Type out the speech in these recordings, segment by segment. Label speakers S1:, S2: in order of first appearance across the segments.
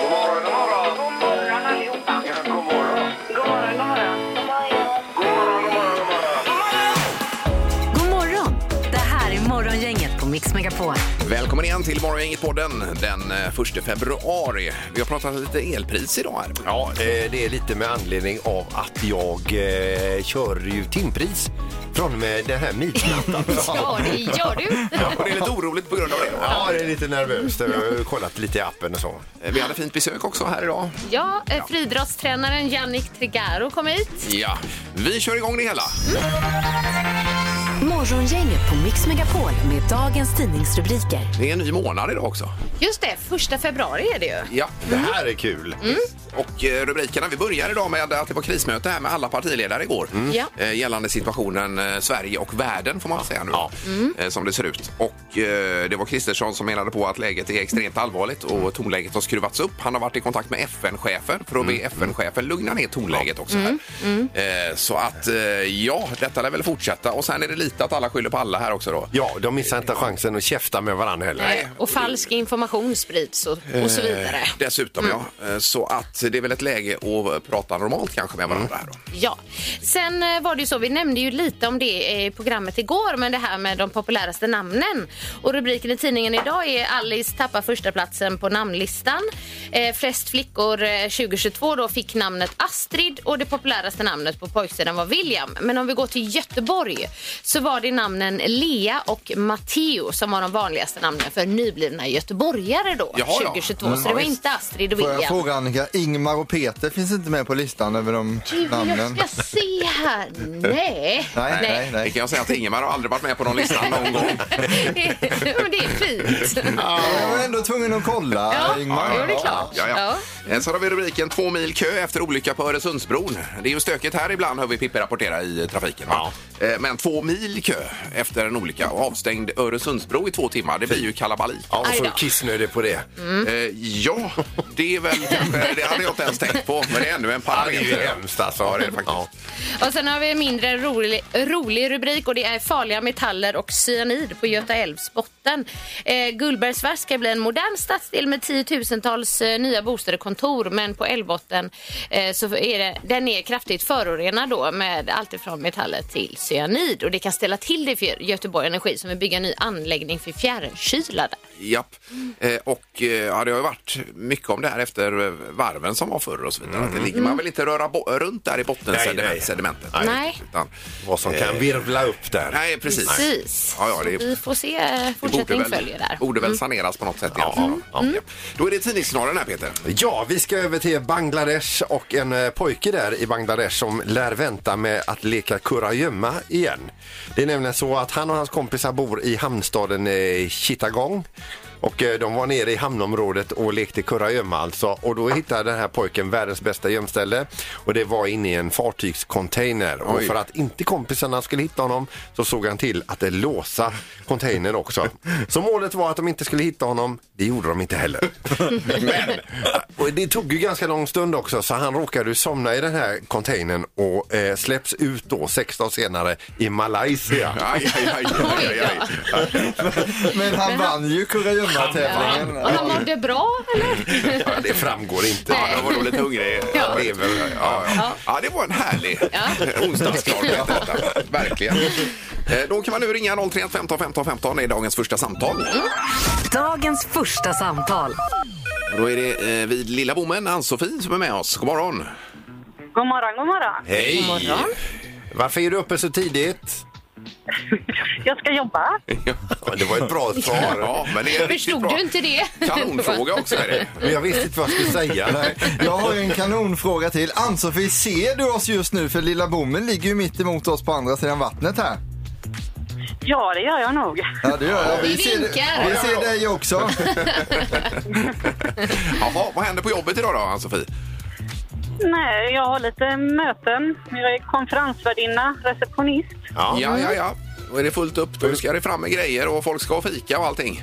S1: God morgon, god morgon.
S2: God morgon allihopa.
S1: Ja, god morgon.
S2: God morgon, god morgon.
S1: God morgon, god morgon, god morgon.
S3: God morgon! Det här är Morgongänget på Mix Megapol.
S4: Välkommen igen till Morgongänget-podden den eh, 1 februari. Vi har pratat lite elpris idag här.
S5: Ja, eh, det är lite med anledning av att jag eh, kör ju timpris från och med den här midnatten.
S6: Ja, det gör du.
S4: Och det är lite oroligt på grund av det.
S5: Ja, det är lite nervöst. Jag har ju kollat lite i appen och så.
S4: Eh, Vi hade fint besök också här idag.
S6: Ja, eh, friidrottstränaren Jannik Trigaro kom hit.
S4: Ja, vi kör igång det hela.
S3: Morgongänget på Mix Megapol med dagens tidningsrubriker.
S4: Det är en ny månad idag också.
S6: Just det, första februari är det ju.
S4: Ja.
S5: Det här är kul.
S4: Och eh, rubrikerna, vi börjar idag med att det var krismöte här med alla partiledare igår.
S6: Ja.
S4: Eh, Gällande situationen eh, Sverige och världen får man säga nu. Eh, Som det ser ut. Och eh, det var Kristersson som menade på att läget är extremt allvarligt och tonläget har skruvats upp. Han har varit i kontakt med FN-chefer för att be FN-chefen lugna ner tonläget också. Här. Eh, Så att eh, ja, detta lär väl fortsätta. Och sen är det lite att alla skyller på alla här också då.
S5: Ja, de missar inte chansen att käfta med varandra heller.
S6: Eh, Och falsk information sprids och, och så vidare.
S4: Eh, Dessutom ja. Eh, Så att det är väl ett läge att prata normalt kanske med varandra här då.
S6: Ja. Sen eh, var det ju så, vi nämnde ju lite om det eh, i programmet igår, men det här med de populäraste namnen. Och rubriken i tidningen idag är Alice tappar första platsen på namnlistan. Eh, flest flickor eh, 2022 då fick namnet Astrid och det populäraste namnet på pojksidan var William. Men om vi går till Göteborg så var det namnen Lea och Matteo som var de vanligaste namnen för nyblivna göteborgare då
S4: Jaha, ja.
S6: 2022. Så det var inte Astrid och
S7: Mm, Får jag
S6: William.
S7: fråga Annika, Ingmar och Peter finns inte med på listan över de
S6: Du,
S7: namnen?
S6: jag ska se här. Nej.
S7: Nej, nej,
S4: Det
S7: nej.
S4: kan jag säga att Ingemar har aldrig varit med på någon lista någon gång.
S6: Men det är fint.
S7: Jag var ändå tvungen att kolla
S6: Ja,
S7: Ingmar.
S6: jo, det är klart.
S4: Ja, ja. Eh, Sen har vi rubriken Två mil kö efter olycka på Öresundsbron. Det är ju stökigt här ibland hör vi Pippi rapportera i trafiken. va? Eh, Men två mil kö efter en olycka och avstängd Öresundsbro i två timmar. Det blir ju kalabalik.
S5: Ja, och
S6: Aj
S5: så
S6: då.
S5: kissnödig på det.
S4: Eh, Ja, det är väl kanske, det hade jag inte ens tänkt på. Men det är ännu en
S5: Ja, det är ju
S4: parameter.
S5: hemskt alltså.
S4: Ja, det är det faktiskt.
S6: Och sen har vi en mindre rolig, rolig rubrik och det är farliga metaller och cyanid på Göta älvs botten. Eh, Gullbergsfärs ska bli en modern stadsdel med tiotusentals eh, nya bostäder och kontor men på älvbotten eh, så är det, den är kraftigt förorenad då med allt ifrån metaller till cyanid och det kan ställa till det för Göteborg Energi som vill bygga en ny anläggning för fjärrkyla där.
S4: Japp. Eh, och eh, ja, det har ju varit mycket om det här efter eh, varven som var förr och så vidare. Att Det ligger, man vill inte röra bo- runt där i
S5: Mm. Nej, nej.
S4: bottensedimentet.
S6: Nej.
S4: Utan,
S5: Vad som kan virvla upp där.
S4: nej, precis.
S6: Precis.
S4: Ja, ja, det-
S6: Så Vi får se, eh,
S4: Det borde
S6: fortsättning
S4: väl,
S6: följer där.
S4: borde väl saneras på något sätt. i alla fall. Mm. Ja. Mm. Då är det tidningssnaren här Peter.
S5: Ja, vi ska över till Bangladesh och en eh, pojke där i Bangladesh som lär vänta med att leka kurragömma igen. Det är nämligen så att han och hans kompisar bor i hamnstaden eh, Chittagong och eh, de var nere i hamnområdet och lekte kurragömma alltså och då hittade den här pojken världens bästa gömställe och det var inne i en fartygscontainer och
S4: Oj.
S5: för att inte kompisarna skulle hitta honom så såg han till att eh, låsa containern också. Så målet var att de inte skulle hitta honom, det gjorde de inte heller. Men, och det tog ju ganska lång stund också så han råkade ju somna i den här containern och eh, släpps ut då 16 senare i Malaysia.
S4: Aj, aj, aj, aj, aj, aj.
S7: Men han vann ju kurragömmatävlingen.
S6: Och han mådde bra eller?
S5: Ja, det framgår inte.
S4: Ja, jag var nog lite hungrig. Ja. det är väl- Ja, ja. ja, det var en härlig onsdagsklar. Verkligen. Eh, Då kan man nu ringa 031 15 15 15. Det är dagens första samtal.
S3: Dagens första samtal.
S4: Då är det eh, vid Lilla Bommen Ann-Sofie som är med oss. God morgon!
S2: God morgon, god morgon.
S5: Hej!
S6: morgon.
S5: Varför är du uppe så tidigt?
S2: Jag ska jobba.
S5: Ja, det var ett bra svar.
S4: Ja, men det är riktigt
S6: Förstod
S4: bra.
S6: du inte det?
S4: Kanonfråga också är det.
S5: Men jag visste inte vad jag skulle säga.
S7: Nej, jag har ju en kanonfråga till. Ann-Sofie, ser du oss just nu? För Lilla Bommen ligger ju mitt emot oss på andra sidan vattnet här.
S2: Ja, det gör jag nog.
S7: Ja, det gör jag.
S6: Vi
S7: ser,
S6: vinkar.
S7: vi ser dig också.
S4: Jaha, vad händer på jobbet idag då Ann-Sofie?
S2: Nej, jag har lite möten. Jag är konferensvärdinna, receptionist.
S4: Ja, ja, ja. Då är det fullt upp. Då ska det fram med grejer och folk ska ha fika och allting.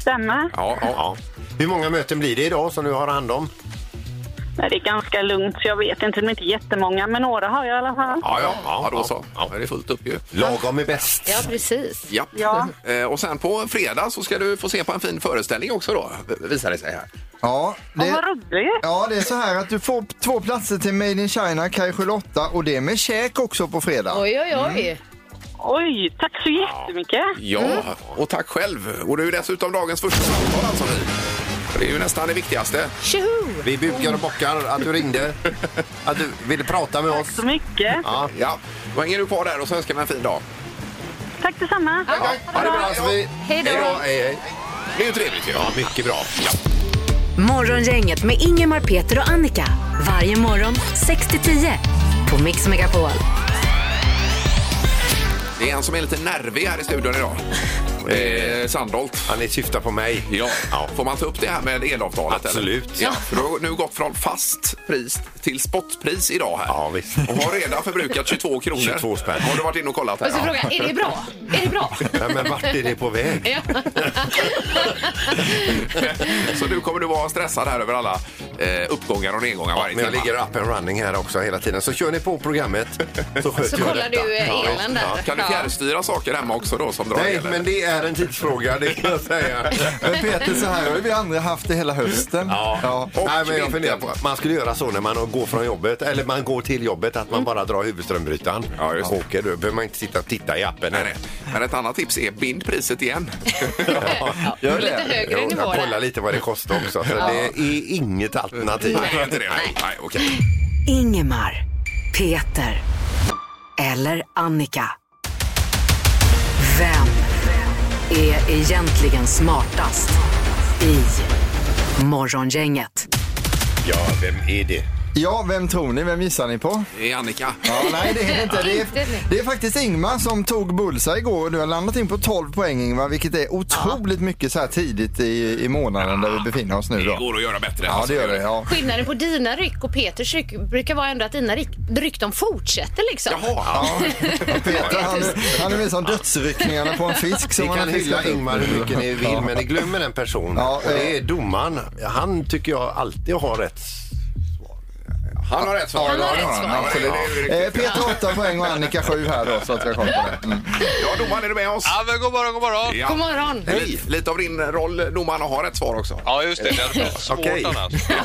S2: Stämmer?
S4: Ja, ja.
S5: Ja. Hur många möten blir det idag som du har hand om?
S2: Nej, det är ganska lugnt, så jag vet inte. De är inte jättemånga, men några har jag i alla fall.
S4: Ja, ja, ja, då så. Ja, det är fullt upp ju.
S5: Lagom är bäst.
S6: Ja, precis.
S4: Ja.
S2: Ja. Mm.
S4: Eh, Och sen på fredag så ska du få se på en fin föreställning också då, visar det sig här.
S7: Ja,
S2: Det...
S7: det,
S2: vad roligt!
S7: ja, det är så här att du får två platser till Made in China, Kaj Lotta och det är med käk också på fredag.
S6: Oj, oj, oj.
S2: Oj, tack så jättemycket!
S4: Ja, och tack själv. Och du är ju dessutom dagens första samtal alltså ni. Det är ju nästan det viktigaste.
S6: Tjoho!
S5: Vi bukar och bockar att du ringde, att du ville prata med
S2: Tack
S5: oss.
S2: så mycket!
S5: Ja.
S4: Ja, då hänger du kvar där och så önskar vi en fin dag.
S2: Tack detsamma!
S5: Ja, ha det bra så vi.
S6: Hej då.
S5: Hej, hej.
S4: Det är ju trevligt ju. Ja, mycket bra. Ja.
S3: Morgongänget med Ingemar, Peter och Annika. Varje morgon 6 till 10 på Mix Megapol.
S4: Det är en som är lite nervig här i studion idag. Det är Sandholt.
S5: Ja, ni syftar på mig.
S4: Ja. Får man ta upp det här med elavtalet?
S5: Absolut.
S4: Eller? Ja, för du har nu gått från fast pris till spotpris idag här.
S5: Ja, visst.
S4: Och har redan förbrukat 22 kronor.
S5: 22 spänn.
S4: Har du varit inne och kollat här?
S6: Och så frågar jag, är det bra? Är det bra?
S5: Ja, men vart är det på väg?
S6: Ja.
S4: Så nu kommer du vara stressad här över alla eh, uppgångar och nedgångar varje
S5: Men jag
S4: timma.
S5: ligger up and running här också hela tiden. Så kör ni på programmet så sköter
S6: Så
S5: jag
S6: kollar
S5: detta.
S6: du eh,
S5: Ja,
S6: elen
S5: ja.
S6: där.
S4: Kan du
S6: Ja.
S4: fjärrstyra saker hemma också då som drar
S5: Nej,
S4: elen?
S5: men det är en tidsfråga, det kan jag säga.
S7: Men Peter, så här har ju vi andra haft det hela hösten. Ja.
S5: Nej,
S4: Och
S5: men jag
S4: vintern.
S5: funderar på, att man skulle göra så när man går från jobbet, eller man går till jobbet, att man bara drar huvudströmbrytaren.
S4: Ja, just det.
S5: och åker. Då behöver man inte sitta och titta i appen.
S4: Nej, nej. Men ett annat tips är bind priset igen.
S6: Ja,
S7: Gör
S6: lite
S7: det.
S5: Jo,
S6: högre nivå
S5: jag kollar
S6: där.
S5: lite vad det kostar också. Så Det är inget alternativ.
S4: Nej, inte det. Nej, nej okej.
S3: Ingemar, Peter eller Annika. Vem är egentligen smartast i Morgongänget?
S5: Ja, vem är det?
S7: ja, vem tror ni? Vem gissar ni på?
S4: Det är Annika.
S7: Ja, nej, det är det inte. Det
S6: Inte
S7: är,
S6: nu.
S7: det är faktiskt Ingmar som tog bullseye igår. Du har landat in på 12 poäng Ingmar, vilket är otroligt mycket så här tidigt i, i månaden där vi befinner oss nu
S4: Det
S7: då.
S4: går att göra bättre.
S7: Ja, det gör det. Ja.
S6: Skillnaden på dina ryck och Peters ryck brukar vara ändå att dina ryck, ryck de fortsätter liksom.
S4: Jaha.
S7: Peter, han, han är med som dödsryckningarna på en fisk
S5: Ni
S7: som han har
S5: kan hylla
S7: hyllat upp.
S5: Ingmar hur mycket ni vill, men ni glömmer en person.
S7: Ja, eh.
S5: och det är domaren. Han tycker jag alltid har rätt.
S4: Han har rätt svar.
S6: Han har rätt svar.
S4: Ja, det är
S7: Eh,
S4: riktigt.
S7: Peter 8 poäng och Annika 7 här då, så att vi har koll på det. Mm.
S4: Ja, domaren, är du med oss?
S8: Ja, men god morgon, god morgon.
S4: Ja.
S6: God morgon.
S4: Lite, lite av din roll, domaren, att ha rätt svar också.
S8: Ja, just det. Det hade varit svårt
S5: Okej.
S8: annars.
S7: Eh,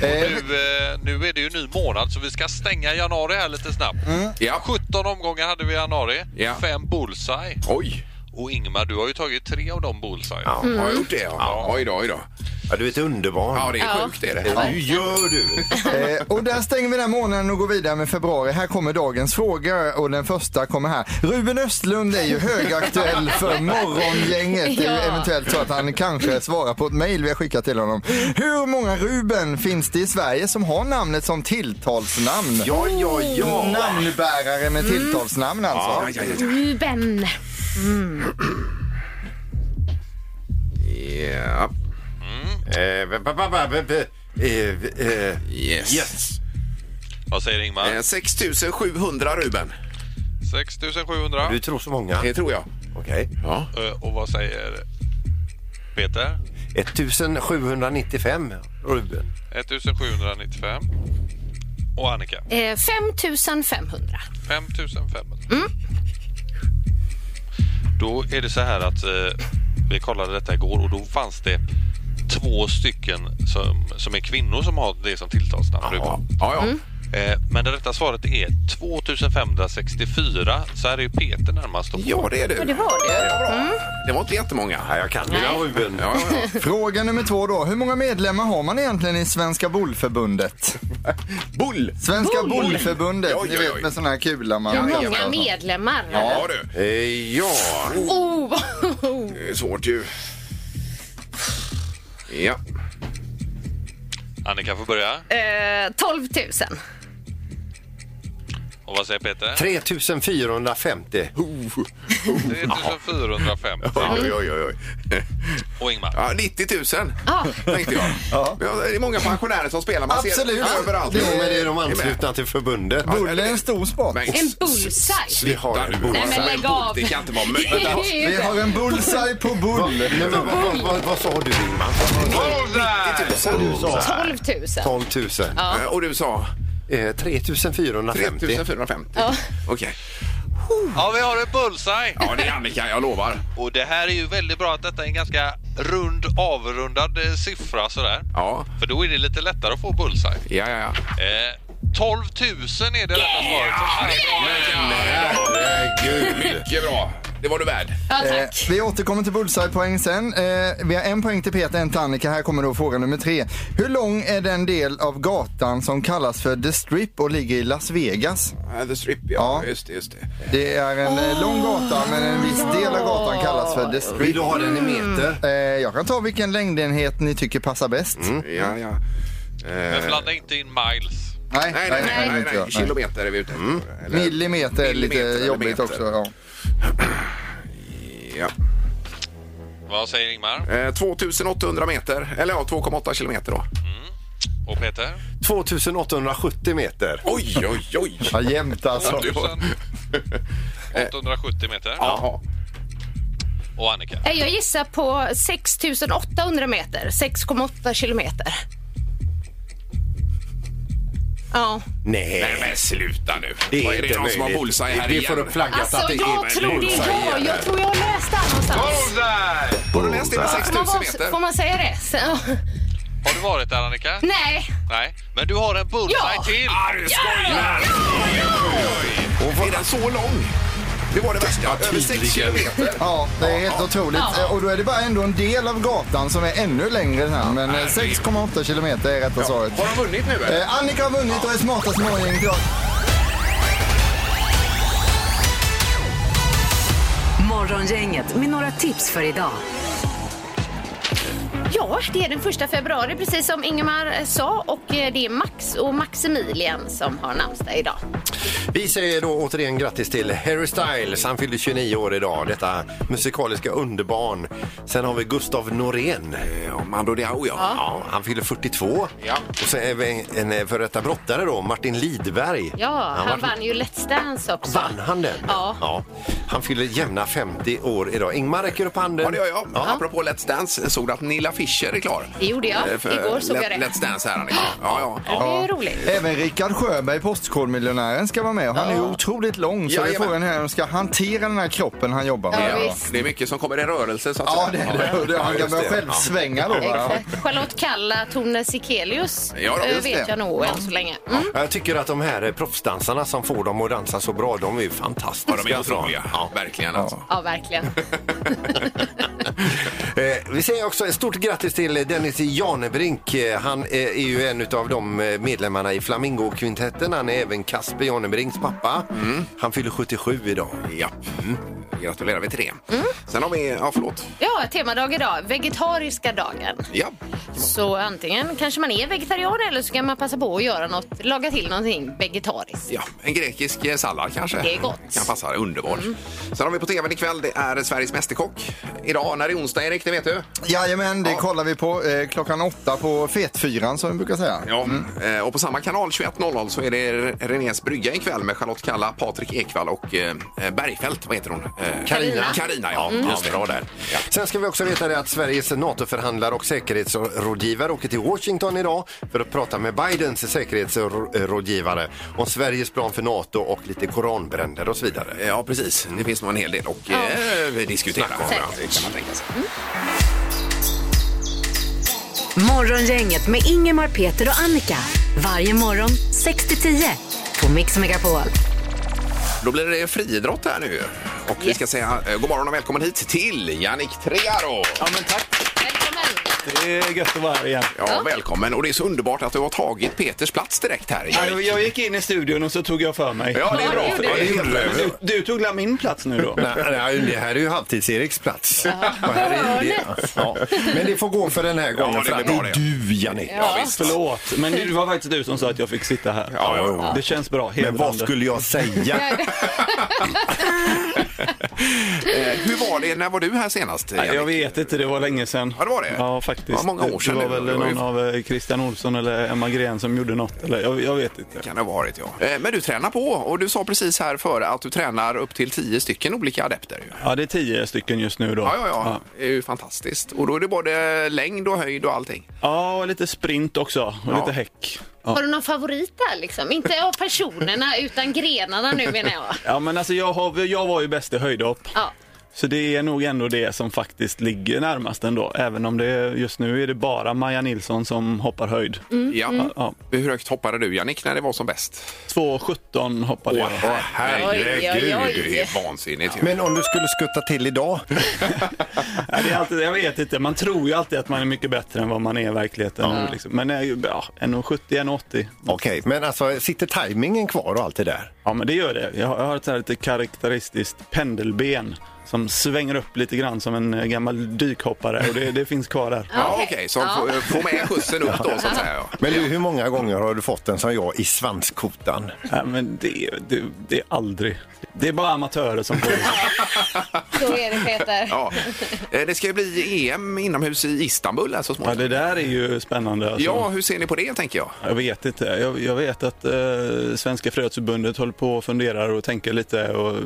S8: Nu, eh, nu är det ju ny månad så vi ska stänga januari här lite snabbt.
S4: Ja.
S8: 17 omgångar hade vi i januari.
S4: Ja.
S8: Fem bullseye.
S4: Oj,
S8: Och Ingmar, du har ju tagit tre av de bullseye.
S5: Ja.
S4: har jag gjort det? Ja. Oj då, oj då.
S5: Ja, du är ett underbarn.
S4: Ja, det är sjukt det är det.
S5: Nu gör du!
S7: Eh, och där stänger vi den här månaden och går vidare med februari. Här kommer dagens fråga och den första kommer här. Ruben Östlund är ju högaktuell för morgongänget. Det är ju
S6: Ja.
S7: eventuellt så att han kanske svarar på ett mejl vi har skickat till honom. Hur många Ruben finns det i Sverige som har namnet som tilltalsnamn?
S4: Ja, Mm. ja, ja.
S7: Namnbärare med tilltalsnamn
S4: Ja,
S7: alltså.
S4: ja, ja, ja.
S6: Mm, Ruben.
S4: Ja.
S5: Eh, va- va- va- va- va- va- eh, eh,
S4: Yes.
S5: Yes.
S8: Vad säger Ingmar?
S4: Eh, 6 700 Ruben,
S8: 6 700.
S5: Du tror så många.
S4: det tror jag.
S5: Okej.
S4: Ja.
S8: Eh, Och vad säger Peter?
S5: 1795, Ruben.
S8: 1795. Och Annika?
S6: Eh, 5500.
S8: 5500.
S4: Mm.
S8: Då är det så här att eh, vi kollade detta igår och då fanns det två stycken som, som är kvinnor som har det som tilltalsnamn.
S4: Ja,
S8: Ruben.
S4: ja.
S6: Mm.
S8: Eh, men det rätta svaret är 2564. Så här är ju Peter närmast. då.
S4: Ja, det är du.
S6: Ja, det var det. Mm.
S4: Ja, bra. Det var inte jättemånga. Ja, jag kan
S5: Ja, Ruben.
S4: Ja, ja, ja.
S7: Fråga nummer två då. Hur många medlemmar har man egentligen i Svenska Bollförbundet?
S4: Bull!
S7: Svenska Bollförbundet,
S4: Oj,
S7: ni
S4: oj, oj.
S7: vet med sån här kula man...
S6: Hur många
S7: Jajamän.
S6: medlemmar?
S4: Ja, du.
S5: Eh, ja,
S6: Oh,
S4: Det är svårt ju. Ja.
S6: Mm.
S8: Annika får börja.
S6: eh, 12 000.
S8: Och vad säger Peter?
S5: 3450.
S8: 3450.
S4: Oj, oj, oj. oj.
S8: Och Ingmar?
S4: Ja, 90 000
S6: Ja.
S4: tänkte jag. Ja. Det är många pensionärer som spelar. Man
S7: Absolut.
S4: ser det överallt.
S5: Jo, men det är de anslutna till förbundet.
S7: Bull är en stor sport.
S4: Men-
S6: En bullseye.
S5: Vi har en bull.
S6: Nej, men lägg av.
S4: Det kan inte vara möjligt.
S6: Det
S4: Vänta.
S6: är ju
S7: Vi
S6: inte-
S7: har en bullseye på bull.
S5: Nej, men, vad, vad, vad, vad sa du, Ingmar?
S4: 90 000.
S6: 12 000.
S5: 12 000.
S4: Eh, Och du sa
S5: Eh, 3450.
S4: 3450. Okej.
S8: Ja, vi har en bullseye!
S4: Ja, det är Annika, jag lovar.
S8: Och det här är ju väldigt bra att detta är en ganska rund, avrundad eh, siffra sådär.
S4: Ja,
S8: För då är det lite lättare att få bullseye.
S4: ja, ja. ja.
S8: Eh, 12 000 är det rätta svaret.
S5: Herregud.
S4: Mycket bra. Det var du värd.
S6: Ja,
S7: Eh,
S6: tack.
S7: vi återkommer till bullseye-poäng sen. Eh, vi har en poäng till Peter, en till Annika. Här kommer då fråga nummer tre. Hur lång är den del av gatan som kallas för The Strip och ligger i Las Vegas?
S4: Ja, The Strip,
S7: Ja.
S4: Just det, just det.
S7: Det är en eh, lång gata, men en viss del av gatan kallas för The Strip.
S5: Vill du ha den i meter?
S7: Eh, jag kan ta vilken längdenhet ni tycker passar bäst.
S4: Mm. Ja, ja. Eh.
S8: Men blanda inte in miles.
S7: Nej,
S4: Nej, nej, nej, nej,
S7: inte
S4: nej.
S7: jag.
S4: Kilometer är vi ute efter. Eller-
S7: Millimeter är lite
S4: Millimeter eller
S7: jobbigt
S4: meter.
S7: också. Ja.
S4: Ja.
S8: Vad säger Ingmar?
S4: Eh, 2800 meter, eller ja, 2,8 kilometer då.
S8: Och Peter?
S5: 2870 meter.
S4: Oj, oj, oj!
S7: Ja, jämnt alltså.
S4: Eh.
S8: 870 meter.
S4: Jaha.
S8: Och Annika?
S6: Eh, Jag gissar på 6800 meter, 6,8 kilometer. Ja.
S4: Nej,
S5: Nej.
S4: men sluta nu.
S5: Det
S4: Vad
S5: är,
S4: är
S5: inte
S4: det någon som har
S5: möjligt.
S4: bullseye här
S5: Vi
S4: igen?
S5: får upp flaggat
S6: Alltså,
S5: att det är
S6: jag
S5: väl
S6: tror det
S5: bullseye
S6: är jag.
S5: igen.
S6: Jag tror jag har läst det här någonstans.
S8: Bullseye!
S4: Har du läst det med 6000
S6: Får man,
S4: meter?
S6: vara- får man säga det? Så,
S8: Har du varit där Annika?
S6: nej.
S8: Nej. Men du har en bullseye
S6: Ja.
S8: till!
S4: Ah, du skojar! Och vad- Är den så lång? Det var det värsta. Över 6 kilometer.
S7: Ja, det är helt otroligt. Eh, Och då är det bara ändå en del av gatan som är ännu längre här. Men eh, 6,8 kilometer är rätta svaret.
S4: Har de vunnit nu eller?
S7: Eh, Annika har vunnit och är smartast i morgongänget idag.
S3: Morgongänget med några tips för idag.
S6: Ja, det är den första februari precis som Ingemar sa och eh, det är Max och Maximilian som har namnsdag idag.
S5: Vi säger då återigen grattis till Harry Styles. Han fyllde 29 år idag. Detta musikaliska underbarn. Sen har vi Gustav Norén.
S4: Ja, Eh, Mando Diao ja.
S5: Ja, han fyller 42.
S4: Ja.
S5: Och sen är vi en en före detta brottare då, Martin Lidberg.
S6: Ja, han,
S5: var-
S6: vann ju Let's Dance också.
S5: Vann han den?
S6: Ja.
S5: Han fyller jämna 50 år idag. Ingmar räcker upp handen.
S4: Ja, det gör jag. Apropå Let's Dance, såg du att Nilla Fischer är klar?
S6: Det gjorde jag.
S4: Eh, för
S6: Igår såg
S4: Let-
S6: jag det.
S4: Let's Dance här, Annika. Ja, ja.
S6: Det är ju roligt.
S7: Även Rickard Sjöberg, Postkodmiljonären, ska vara med. Och Han är ju otroligt lång, så det är
S4: Jajamän.
S7: frågan här hur de ska hantera den här kroppen han jobbar med.
S6: Ja,
S4: Ja,
S6: visst.
S4: det är mycket som kommer i rörelse så att
S7: Ja, det
S4: säga.
S7: är det. Han kan börja själv svänga då. va?
S6: Exakt. Charlotte Kalla, Tone Sekelius
S4: Ja, då,
S6: eh,
S4: just
S6: vet
S7: det.
S6: jag nog än så länge. Mm.
S5: Jag tycker att de här eh, proffsdansarna som får dem att dansa så bra, de är ju fantastiska.
S4: Ja, de är
S5: alltså.
S4: otroliga.
S5: Ja.
S4: Verkligen alltså.
S6: Ja, verkligen.
S5: Eh, Vi säger också ett stort grattis till Dennis Janebrink. Eh, Han eh, är ju en av de eh, medlemmarna i Flamingo-kvintetten. Han är även Kasper Janebrinks pappa.
S4: Mm.
S5: Han fyller 77 idag.
S4: Ja. Mm. Gratulerar vi till det. Sen har vi... Ja, förlåt.
S6: Ja, temadag idag, vegetariska dagen.
S4: Ja.
S6: Så antingen kanske man är vegetarian eller så kan man passa på att göra något, laga till någonting vegetariskt.
S4: ja. En grekisk eh, sallad kanske.
S6: Det är gott.
S4: Kan passa. Underbart. Sen har vi på tvn ikväll, det är Sveriges Mästerkock. Idag, när det är onsdag Erik, det vet du.
S7: Jajamän, det kollar vi på eh, klockan åtta på Fetfyran som vi brukar säga.
S4: Ja. Eh, Och på samma kanal 21.00 så är det Renés brygga ikväll med Charlotte Kalla, Patrik Ekwall och eh, Bergfeldt. Vad heter hon? Eh,
S6: Carina.
S4: Carina, ja. Just det.
S5: bra där. Sen ska vi också veta det att Sveriges NATO-förhandlare och säkerhetsrådgivare åker till Washington idag för att prata med Bidens säkerhetsrådgivare om Sveriges plan för NATO och lite koranbränder och så vidare.
S4: Ja, precis. Det finns nog en hel del att eh, diskutera.
S5: Snacka om,
S4: Ja,
S6: ja.
S4: det kan man tänka sig.
S3: Morgongänget med Ingemar, Peter och Annika. Varje morgon 6 till 10 på Mix Megapol.
S4: Då blir det friidrott här nu. Och vi ska säga eh, god morgon och välkommen hit till Jannik Trearo. Ja,
S6: Välkommen!
S9: Det är gött att vara här igen.
S4: välkommen. Och det är så underbart att du har tagit Peters plats direkt här.
S9: Ja,
S4: Jannik.
S9: Jag, jag gick in i studion och så tog jag för mig.
S4: Ja, det är
S6: Ja,
S4: bra.
S6: det gjorde
S4: Ja,
S6: du.
S4: det är helt
S9: Men
S4: rätt.
S9: Du, du tog la min plats nu då?
S5: Nej, nej, det här är ju halvtids-Eriks plats. Och här är det- Ja. Men det får gå för den här gången.
S4: Ja, det
S5: för
S4: blir
S5: att
S4: bra det.
S5: du, Jannik.
S4: Ja, visst.
S9: Förlåt, men det var faktiskt du som sa att jag fick sitta här.
S4: Ja, ja, ja.
S9: Det känns bra.
S5: Men vad
S9: hedrande.
S5: skulle jag säga?
S4: Eh, Hur var det? När var du här senast?
S9: Nej, Jag
S4: Jannik?
S9: vet inte, det var länge sedan.
S4: Ja, det var det.
S9: Ja, faktiskt.
S4: Ja, många år sedan
S9: Det
S4: nu.
S9: var väl
S4: Det var ju-
S9: någon av eh, Christian Olsson eller Emma Gren som gjorde något. Eller, jag, jag vet inte.
S4: Kan det ha varit, ja. Eh, Men du tränar på och du sa precis här före att du tränar upp till tio stycken olika adepter. ju.
S9: Ja, det är tio stycken just nu då.
S4: Ja, ja, ja. Det är ju fantastiskt. Och då är det både längd och höjd och allting.
S9: Ja, och lite sprint också och
S4: Ja.
S9: lite häck.
S6: Har du någon favorit där liksom? Inte av personerna utan grenarna nu menar jag.
S9: Ja, men alltså jag, har, jag var ju bäst i höjdhopp.
S6: Ja.
S9: Så det är nog ändå det som faktiskt ligger närmast ändå. Även om det just nu är det bara Maja Nilsson som hoppar höjd.
S6: Mm.
S4: Ja.
S9: Ja.
S4: Hur högt hoppade du, Jannik, när det var som bäst?
S9: 2,17 hoppade
S4: Åh,
S9: jag.
S6: Oj,
S4: herregud,
S6: oj, oj.
S4: det är vansinnigt. ju.
S5: Men om du skulle skutta till idag?
S9: Ja, det är alltid, jag vet inte, man tror ju alltid att man är mycket bättre än vad man är i verkligheten. nu, Liksom. Men eh, ja, 1,70, 1,80.
S5: Okej, men alltså sitter tajmingen kvar och allt det där?
S9: Ja, men det gör det. Jag har, jag har ett så här lite karaktäristiskt pendelben som svänger upp lite grann som en eh, gammal dykhoppare och det, det finns kvar där.
S4: Ja, okej,
S6: Okej.
S4: så
S6: Ja.
S4: få- få med skjutsen upp då så att säga. ja.
S5: Men du, hur många gånger har du fått en som jag i svanskotan?
S9: Ja, men det, det, det är aldrig... Det är bara amatörer som får det.
S6: Så är det Peter.
S4: Ja. Eh, Det ska ju bli EM inomhus i Istanbul här så
S9: Ja,
S4: småningom.
S9: det där är ju spännande. Alltså. Mm.
S4: Ja, hur ser ni på det tänker jag?
S9: Jag vet inte. Jag, jag vet att eh, Svenska Friidrottsförbundet håller på och funderar och tänker lite. Och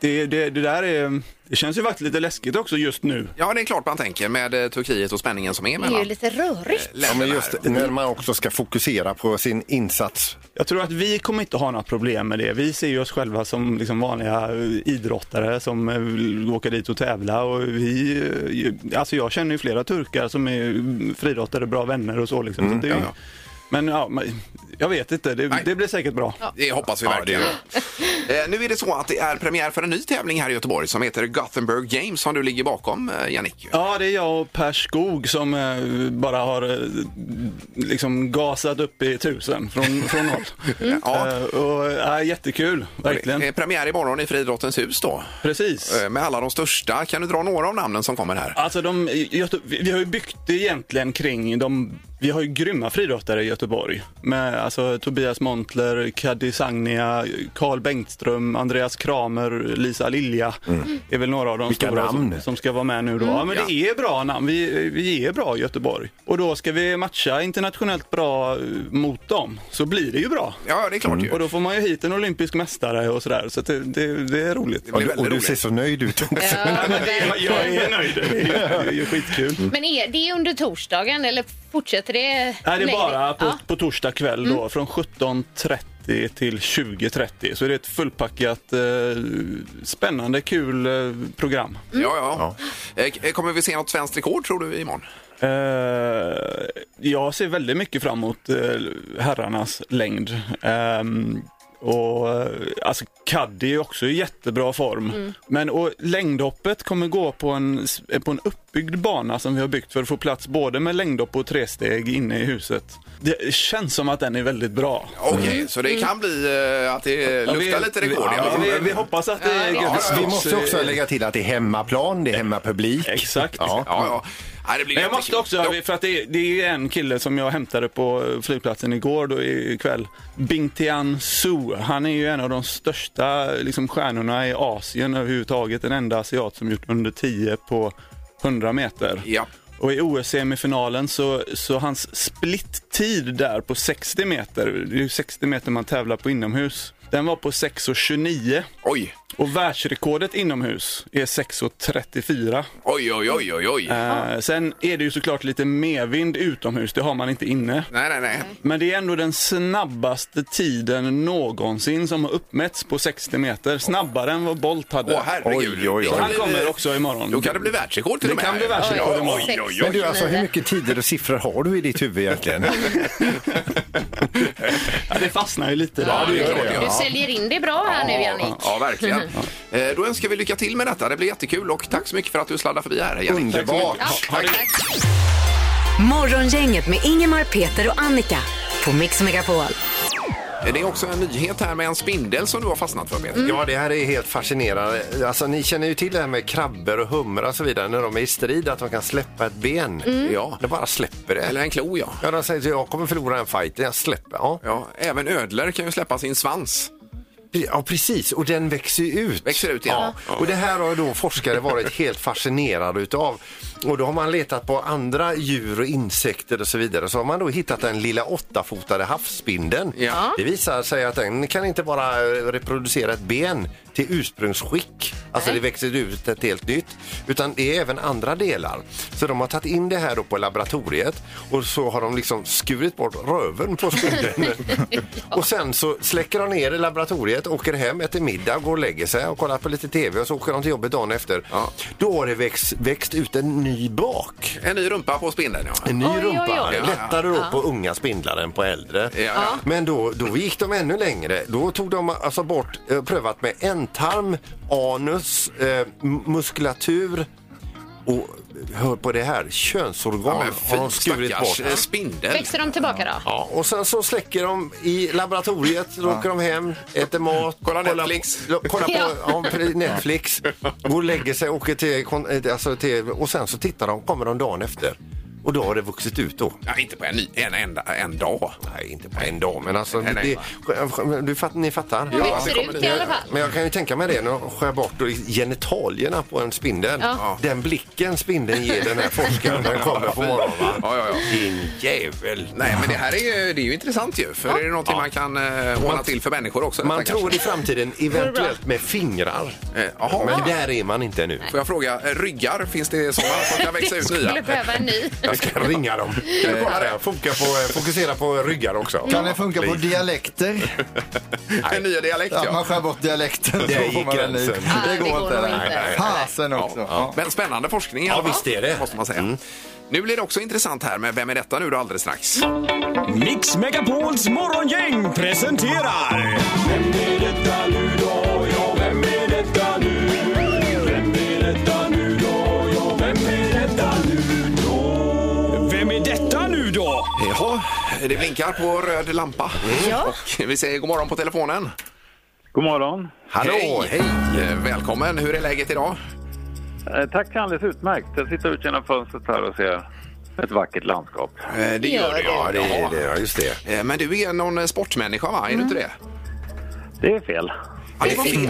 S9: det, det, det där är... Det känns ju faktiskt lite läskigt också just nu.
S4: Ja, det är klart man tänker med eh, Turkiet och spänningen som är
S6: Det är ju
S4: mellan
S6: lite rörigt.
S5: Ja,
S4: länderna.
S5: men just
S9: Mm.
S5: när man också ska fokusera på sin insats.
S9: Jag tror att vi kommer inte ha några problem med det. Vi ser ju oss själva som liksom vanliga eh, idrottare som eh, vill åka dit och tävla. Och vi, eh, ju- alltså jag känner ju flera turkar som är mm, friidrottare, bra vänner och så. Liksom. så det är, ju-
S4: Mm, ja.
S9: Men ja, men jag vet inte, det, det blir säkert bra.
S4: Det hoppas vi verkligen. Eh, Nu är det så att det är premiär för en ny tävling här i Göteborg som heter Gothenburg Games som du ligger bakom, eh, Jannick.
S9: Ja, det är jag och Per Skog som eh, bara har eh, liksom gasat upp i tusen från, från noll.
S4: Ja.
S9: Eh, och, ja, jättekul, verkligen.
S4: Det är premiär imorgon i Friidrottens hus då.
S9: Precis.
S4: Eh, Med alla de största. Kan du dra några av namnen som kommer här?
S9: Alltså de, Göte, vi vi har ju byggt det egentligen kring de, vi har ju grymma friidrottare i Göteborg. Med alltså Tobias Montler, Kaddi Sagnia, Karl Bengtström, Andreas Kramer, Lisa Lilja. är väl några av de
S5: Vilka
S9: stora
S5: namn.
S9: Som, som ska vara med nu då. ja men det är bra namn, vi, vi är bra i Göteborg. Och då ska vi matcha internationellt bra eh, mot dem, så blir det ju bra.
S4: Ja, det är klart
S9: Och
S4: ju.
S9: då får man ju hit en olympisk mästare och sådär, så att det, det, det är roligt.
S4: Det blir
S5: Mm. Och
S4: väldigt
S5: du ser
S4: roligt.
S5: så nöjd ut också.
S6: Ja, men
S9: Jag,
S6: verkligen.
S9: jag är nöjd, det är, ju- det är ju skitkul.
S6: Men är det under torsdagen eller fortsätter det?
S9: Nej, det är
S6: längre?
S9: bara på,
S6: Ja.
S9: på torsdag kväll då, från 17.30 till 20.30. Så det är ett fullpackat, eh, spännande, kul eh, program.
S4: Ja, ja. Eh, Kommer vi se något svenskt rekord tror du imorgon?
S9: Eh, jag ser väldigt mycket fram emot eh, herrarnas längd. Ehm, och eh, alltså Caddy är också i jättebra form. Men och längdhoppet kommer gå på en, s- eh, på en uppbyggd bana som vi har byggt för att få plats både med längdhopp och tresteg inne i huset. Det känns som att den är väldigt bra.
S4: Okej, så det kan bli eh, att det
S9: Mm. Ja,
S4: luftar
S9: vi-
S4: lite rekord i alla
S9: Ja,
S4: fall.
S9: vi, vi hoppas att det är
S6: Ja,
S9: Göteborgs-
S5: Vi måste också lägga till att det är hemmaplan, det är hemmapublik.
S9: Exakt.
S5: Ja.
S4: Ja, ja. Nej, det blir
S9: Men jag måste
S4: jättekul.
S9: också, för att det, är- det är ju en kille som jag hämtade på flygplatsen igår då ikväll. Bingtian Su. Han är ju en av de största liksom, stjärnorna i Asien överhuvudtaget. Den enda asiat som gjort under 10 på 100 meter.
S4: Ja.
S9: Och i OS-semifinalen så, så hans split-tid där på 60 meter, det är ju 60 meter man tävlar på inomhus, den var på 6.29.
S4: Oj,
S9: Och världsrekordet inomhus är 6.34.
S4: oj, oj, oj, oj. oj.
S5: Äh.
S9: Eh, sen är det ju såklart lite medvind utomhus, det har man inte inne.
S4: Nej, nej, nej.
S9: Men det är ändå den snabbaste tiden någonsin som har uppmätts på 60 meter. Snabbare än vad Bolt hade.
S4: Åh, herregud.
S5: Oj, oj, oj.
S4: Det kan
S9: Han
S4: bli-
S9: kommer också imorgon.
S4: Då kan det bli världsrekord till
S9: Det
S4: och med.
S9: kan bli världsrekord
S4: Ja,
S9: imorgon.
S4: Oj, oj,
S5: Men
S4: oj.
S5: du, alltså hur mycket tider och siffror har du i ditt huvud egentligen?
S9: Ja, det fastnar ju lite där.
S4: Ja, det är klart,
S6: Du
S4: ja.
S6: säljer in det bra här nu Jannik.
S4: Ja, verkligen. Eh, Då önskar vi lycka till med detta. Det blir jättekul och tack så mycket för att du sladdade förbi här, Jannik.
S5: Underbart!
S3: Morgongänget med Ingemar, Peter och Annika på Mix Megapol.
S4: Eh, Det är också en nyhet här med en spindel som du har fastnat för, Peter.
S5: Ja, det här är helt fascinerande. Alltså, ni känner ju till det här med krabbor och humrar och så vidare när de är i strid, att de kan släppa ett ben.
S4: Ja.
S5: De bara släpper det.
S4: Eller en klo, ja.
S5: Ja, de säger att jag kommer förlora en fight. Jag släpper. Ja.
S4: ja. Även ödlor kan ju släppa sin svans.
S5: Ja, precis. Och den växer ju ut.
S4: Växer ut, ja. Ja.
S5: Och det här har ju då forskare varit helt fascinerade utav. Och då har man letat på andra djur och insekter och så vidare. Så har man då hittat den lilla åttafotade havsspindeln.
S4: Ja.
S5: Det visar sig att den kan inte bara reproducera ett ben till ursprungsskick. Alltså det växer ut ett helt nytt. Utan det är även andra delar. Så de har tagit in det här då på laboratoriet och så har de liksom skurit bort röven på spindeln. Och sen så släcker de ner i laboratoriet, åker hem, äter middag, går och lägger sig och kollar på lite tv och så åker de till jobbet dagen efter.
S4: Ja.
S5: Då har det växt, växt ut en ny bak.
S4: En ny rumpa på spindeln, ja.
S5: En ny
S6: Oj, oj,
S5: rumpa.
S6: oj.
S5: Lättare då på unga spindlar än på äldre.
S4: Ja, ja.
S5: Men då, då gick de ännu längre. Då tog de alltså bort, eh, prövat med ändtarm, anus, eh, m- muskulatur och hör på det här,
S4: Ja,
S5: könsorgan
S4: men
S5: har de
S4: fy
S5: skurit
S4: stackars
S5: bort.
S4: eh, spindel.
S6: Växer de tillbaka då?
S5: Ja, och sen så släcker de i laboratoriet, då åker de hem, äter mat,
S4: Kollar Netflix.
S5: På, kollar på
S6: Ja.
S5: ja. pre- Netflix, går och lägger sig, åker till, kon- eh, alltså till, och sen så tittar de, kommer de dagen efter. Och då har det vuxit ut då.
S4: Ja, inte på en, ny, en, en, en dag.
S5: Nej, inte på en dag, men alltså,
S4: Nej, nej,
S5: det, du fatt, ni fattar.
S6: De
S4: det
S6: växer
S4: kommer
S6: ut i
S4: det.
S6: alla fall.
S5: Men jag kan ju tänka mig det, när de skär bort då genitalierna på en spindel.
S6: Ja.
S5: Den blicken spindeln ger den här forskaren när den kommer på morgonen. va?
S4: Ja, ja, ja.
S5: Din jävel!
S4: Nej, men det här är ju, det är ju intressant ju. För är det någonting man kan eh, ordna till för människor också?
S5: Man
S4: detta
S5: tror i framtiden eventuellt med fingrar.
S4: kanske? Eh, Jaha.
S5: Men där är man inte ännu.
S4: Får jag fråga, eh, ryggar, finns det sådana som kan växa
S6: Det
S4: ut
S6: skulle
S4: nya?
S6: behöva en ny.
S5: Jag ska ringa dem. Kan du kolla det? Funka på, fokusera på ryggar också.
S7: Kan det funka på dialekter?
S4: En ny dialekt,
S7: Ja, man
S4: ja.
S7: skär bort dialekten så
S5: Där
S7: får
S5: gick
S7: man en ny.
S5: gränsen.
S7: Det
S6: det
S7: går
S6: går
S7: inte.
S6: nog
S7: det.
S6: inte.
S7: Nej. Fasen också.
S4: Ja.
S7: Ja.
S4: Men spännande forskning i
S5: Ja,
S4: alla fall,
S5: visst är det.
S4: Måste man säga. Nu blir det också intressant här med Vem är detta nu då alldeles strax?
S10: Mix Megapols morgongäng presenterar... Vem är detta nu då? Ja, vem är detta nu? Vem är detta nu då? Ja, vem är detta nu då? Vem är detta nu då?
S4: Jaha, det blinkar på röd lampa.
S6: Ja.
S4: Och vi säger god morgon på telefonen.
S11: God morgon.
S5: Hallå,
S4: hej! Eh, Välkommen, hur är läget idag?
S11: Eh, Tack, alldeles utmärkt. Jag sitter ut genom fönstret här och ser ett vackert landskap.
S4: Eh, Det
S6: gör
S4: gör du,
S6: det.
S4: ja.
S5: Ja, det är det. Ja, just det.
S4: Eh, Men du är någon eh, sportmänniska, va? Är du inte det?
S11: Det är fel.
S4: Ja, det var fel.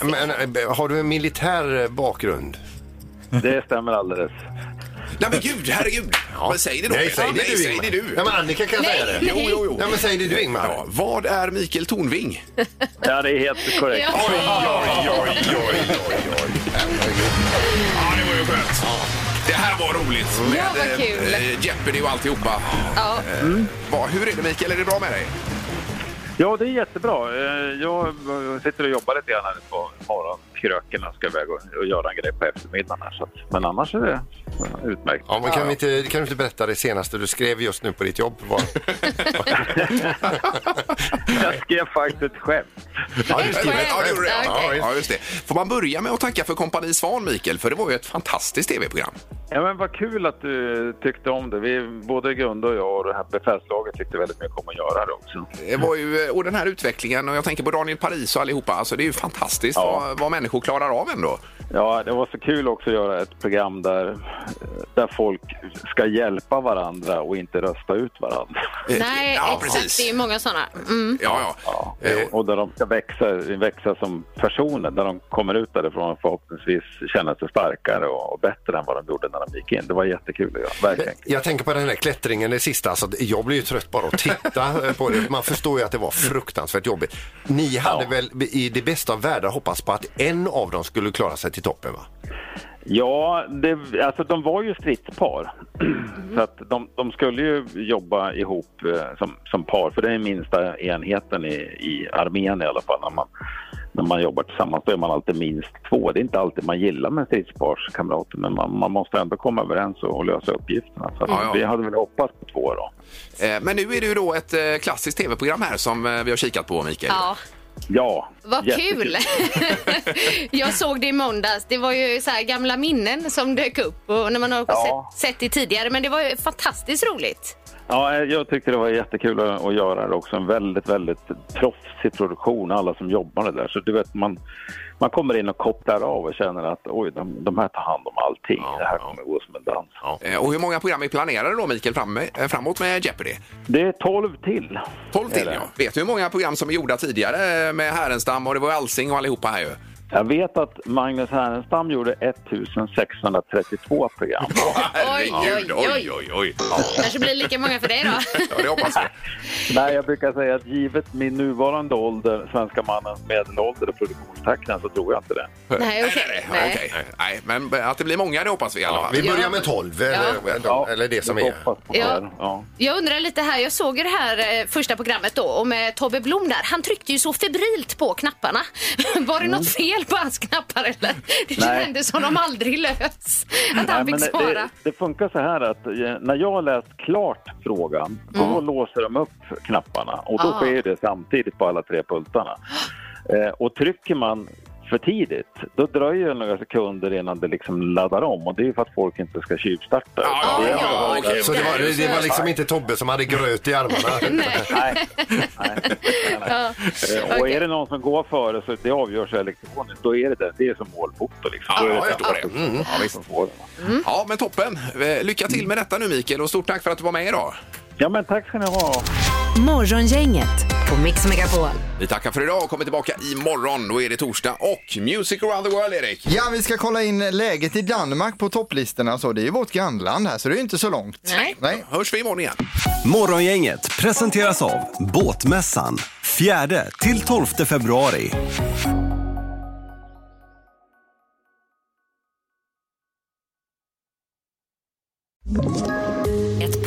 S5: Men, men, eh, har du en militär eh, bakgrund?
S11: Det stämmer alldeles.
S4: Nej men gud, herregud! Men säg det då!
S5: Nej, säg det
S4: Nej,
S5: du,
S4: säg
S5: Ingmar.
S4: det du.
S5: Ja, men Annika kan säga det.
S4: Jo, jo, jo.
S5: Ja, men säg det du, Ingmar.
S4: Ja, vad är Mikael Tornving?
S11: Ja, det är helt korrekt.
S6: Ja.
S4: oj, oj, oj, oj, oj. Herregud. Ja, det var ju skönt. Det här var roligt.
S6: Ja, vad
S4: eh,
S6: kul.
S4: eh, Jeopardy och alltihopa.
S6: Ja.
S4: Eh, vad- hur är det Mikael, är det bra med dig?
S11: Ja, det är jättebra. Eh, Jag eh, sitter och jobbar lite grann här på morgonkröken. Jag ska iväg och och göra en grej på eftermiddagen. Här, så att, men annars är det eh, utmärkt.
S5: Ja, men kan, vi inte, kan du inte berätta det senaste du skrev just nu på ditt jobb? Var?
S11: Jag skrev faktiskt ett skämt.
S5: Ja, du skrev
S4: Ja, det gjorde det.
S6: Ja, okej.
S4: Ja, just det. Får man börja med att tacka för kompani Svan, Mikael? För det var ju ett fantastiskt tv-program.
S11: Ja, men vad kul att du tyckte om det. Vi, både Gunde och jag och det här befälslaget tyckte väldigt mycket om att göra det också.
S4: Det var ju, eh, och den här utvecklingen, och jag tänker på Daniel Paris och allihopa. Alltså, det är ju fantastiskt
S11: Ja.
S4: vad, vad människor klarar av ändå.
S11: Ja, det var så kul också att göra ett program där, eh, där folk ska hjälpa varandra och inte rösta ut varandra.
S6: Nej,
S4: Eh, ja,
S6: exakt.
S4: precis.
S6: Det är många sådana. Mm.
S4: Ja, Eh, ja.
S11: Ja. Eh, Och där de ska växa, växa som personer, där de kommer ut därifrån och förhoppningsvis känna sig starkare och, och bättre än vad de gjorde när de gick in. Det var jättekul att göra, verkligen.
S5: Jag tänker på den här klättringen, det sista. Alltså, jag blir ju trött bara att titta eh, på det. Man förstår ju att det var fruktansvärt jobbigt. Ni hade
S11: Ja.
S5: väl i det bästa av världar hoppats på att en av dem skulle klara sig till toppen, va?
S11: Ja, det, alltså de var ju stridspar. Så att de, de skulle ju jobba ihop eh, som, som par, för det är minsta enheten i, i armén i alla fall. När man, när man jobbar tillsammans då är man alltid minst två. Det är inte alltid man gillar med stridsparskamrater, men man, man måste ändå komma överens och, och lösa uppgifterna. Så att
S4: Ja, ja.
S11: vi hade väl hoppats på två då.
S4: Eh, Men nu är det ju då ett eh, klassiskt tv-program här som eh, vi har kikat på, Mikael.
S6: Ja.
S11: Ja,
S6: Vad
S11: jättekul.
S6: kul! jag såg det i måndags. Det var ju så här gamla minnen som dök upp och när man har
S11: Ja.
S6: sett, sett det tidigare. Men det var ju fantastiskt roligt.
S11: Ja, eh, jag tyckte det var jättekul att att göra det också. En väldigt, väldigt proffsig produktion, alla som jobbade där. Så du vet, man, man kommer in och kopplar av och känner att oj, de, de här tar hand om allting. det här kommer gå som en dans.
S4: Eh, Och hur många program är planerade då, Mikael, fram, eh, framåt med Jeopardy?
S11: Det är 12 till.
S4: 12 till, ja. Vet du hur många program som är gjorda tidigare eh, med Härenstam och det var ju Alsing och allihopa här ju?
S11: Jag vet att Magnus Härenstam gjorde 1632 program.
S4: Herregud,
S6: oj,
S4: oj, oj, oj.
S6: kanske blir lika många för dig då.
S4: Ja, det hoppas vi.
S11: Nej, jag brukar säga att givet min nuvarande ålder, svenska mannens medelålder och produktionstakten så tror jag inte det.
S6: Nej, okej.
S4: Nej,
S6: Nej.
S4: okej. Nej, men att det blir många det hoppas vi i alla fall.
S5: Vi börjar med 12, eller, eller, eller det som
S11: jag
S5: är.
S11: hoppas på det.
S6: Ja.
S11: här, Ja.
S6: Jag undrar lite här, jag såg ju det här eh, första programmet då och med Tobbe Blom där. Han tryckte ju så febrilt på knapparna. Var det något fel på hans knappar eller? Det
S11: Mm. Nej.
S6: kändes som de aldrig lös. Att han
S11: Nej,
S6: fick
S11: men
S6: svara.
S11: Det, det funkar så här att eh, när jag har läst klart frågan, då låser de upp knapparna och då
S6: Mm. Ah.
S11: sker det samtidigt på alla tre pultarna. Eh, och trycker man för tidigt, då dröjer det några sekunder innan det liksom laddar om och det är för att folk inte ska tjuvstarta.
S4: Ja,
S11: Det är-
S4: ja, ja, okej.
S5: Så det var, det var liksom inte Tobbe som hade gröt i armarna.
S11: Nej, nej, nej, nej.
S6: Ja.
S11: Eh, Och är det någon som går före så det avgörs elektroniskt, då är det det. Det är som målfoto liksom. Då är det
S4: Ja, jag
S11: den
S4: förstår det. Ja, visst.
S11: som får den.
S6: Mm.
S4: Ja, men toppen. Eh, Lycka till med detta nu Mikael och stort tack för att du var med idag.
S11: Ja, men tack ska ni ha.
S3: Morgongänget på Mix Megapol.
S4: Vi tackar för idag och kommer tillbaka imorgon. Då är det torsdag och Music around the world, Erik.
S7: Ja, vi ska kolla in läget i Danmark på topplistorna. Så det är ju vårt grannland här, så det är ju inte så långt.
S6: Nej.
S7: Nej.
S4: Hörs vi imorgon igen.
S10: Morgongänget presenteras av Båtmässan 4 till 12 februari.
S3: Ett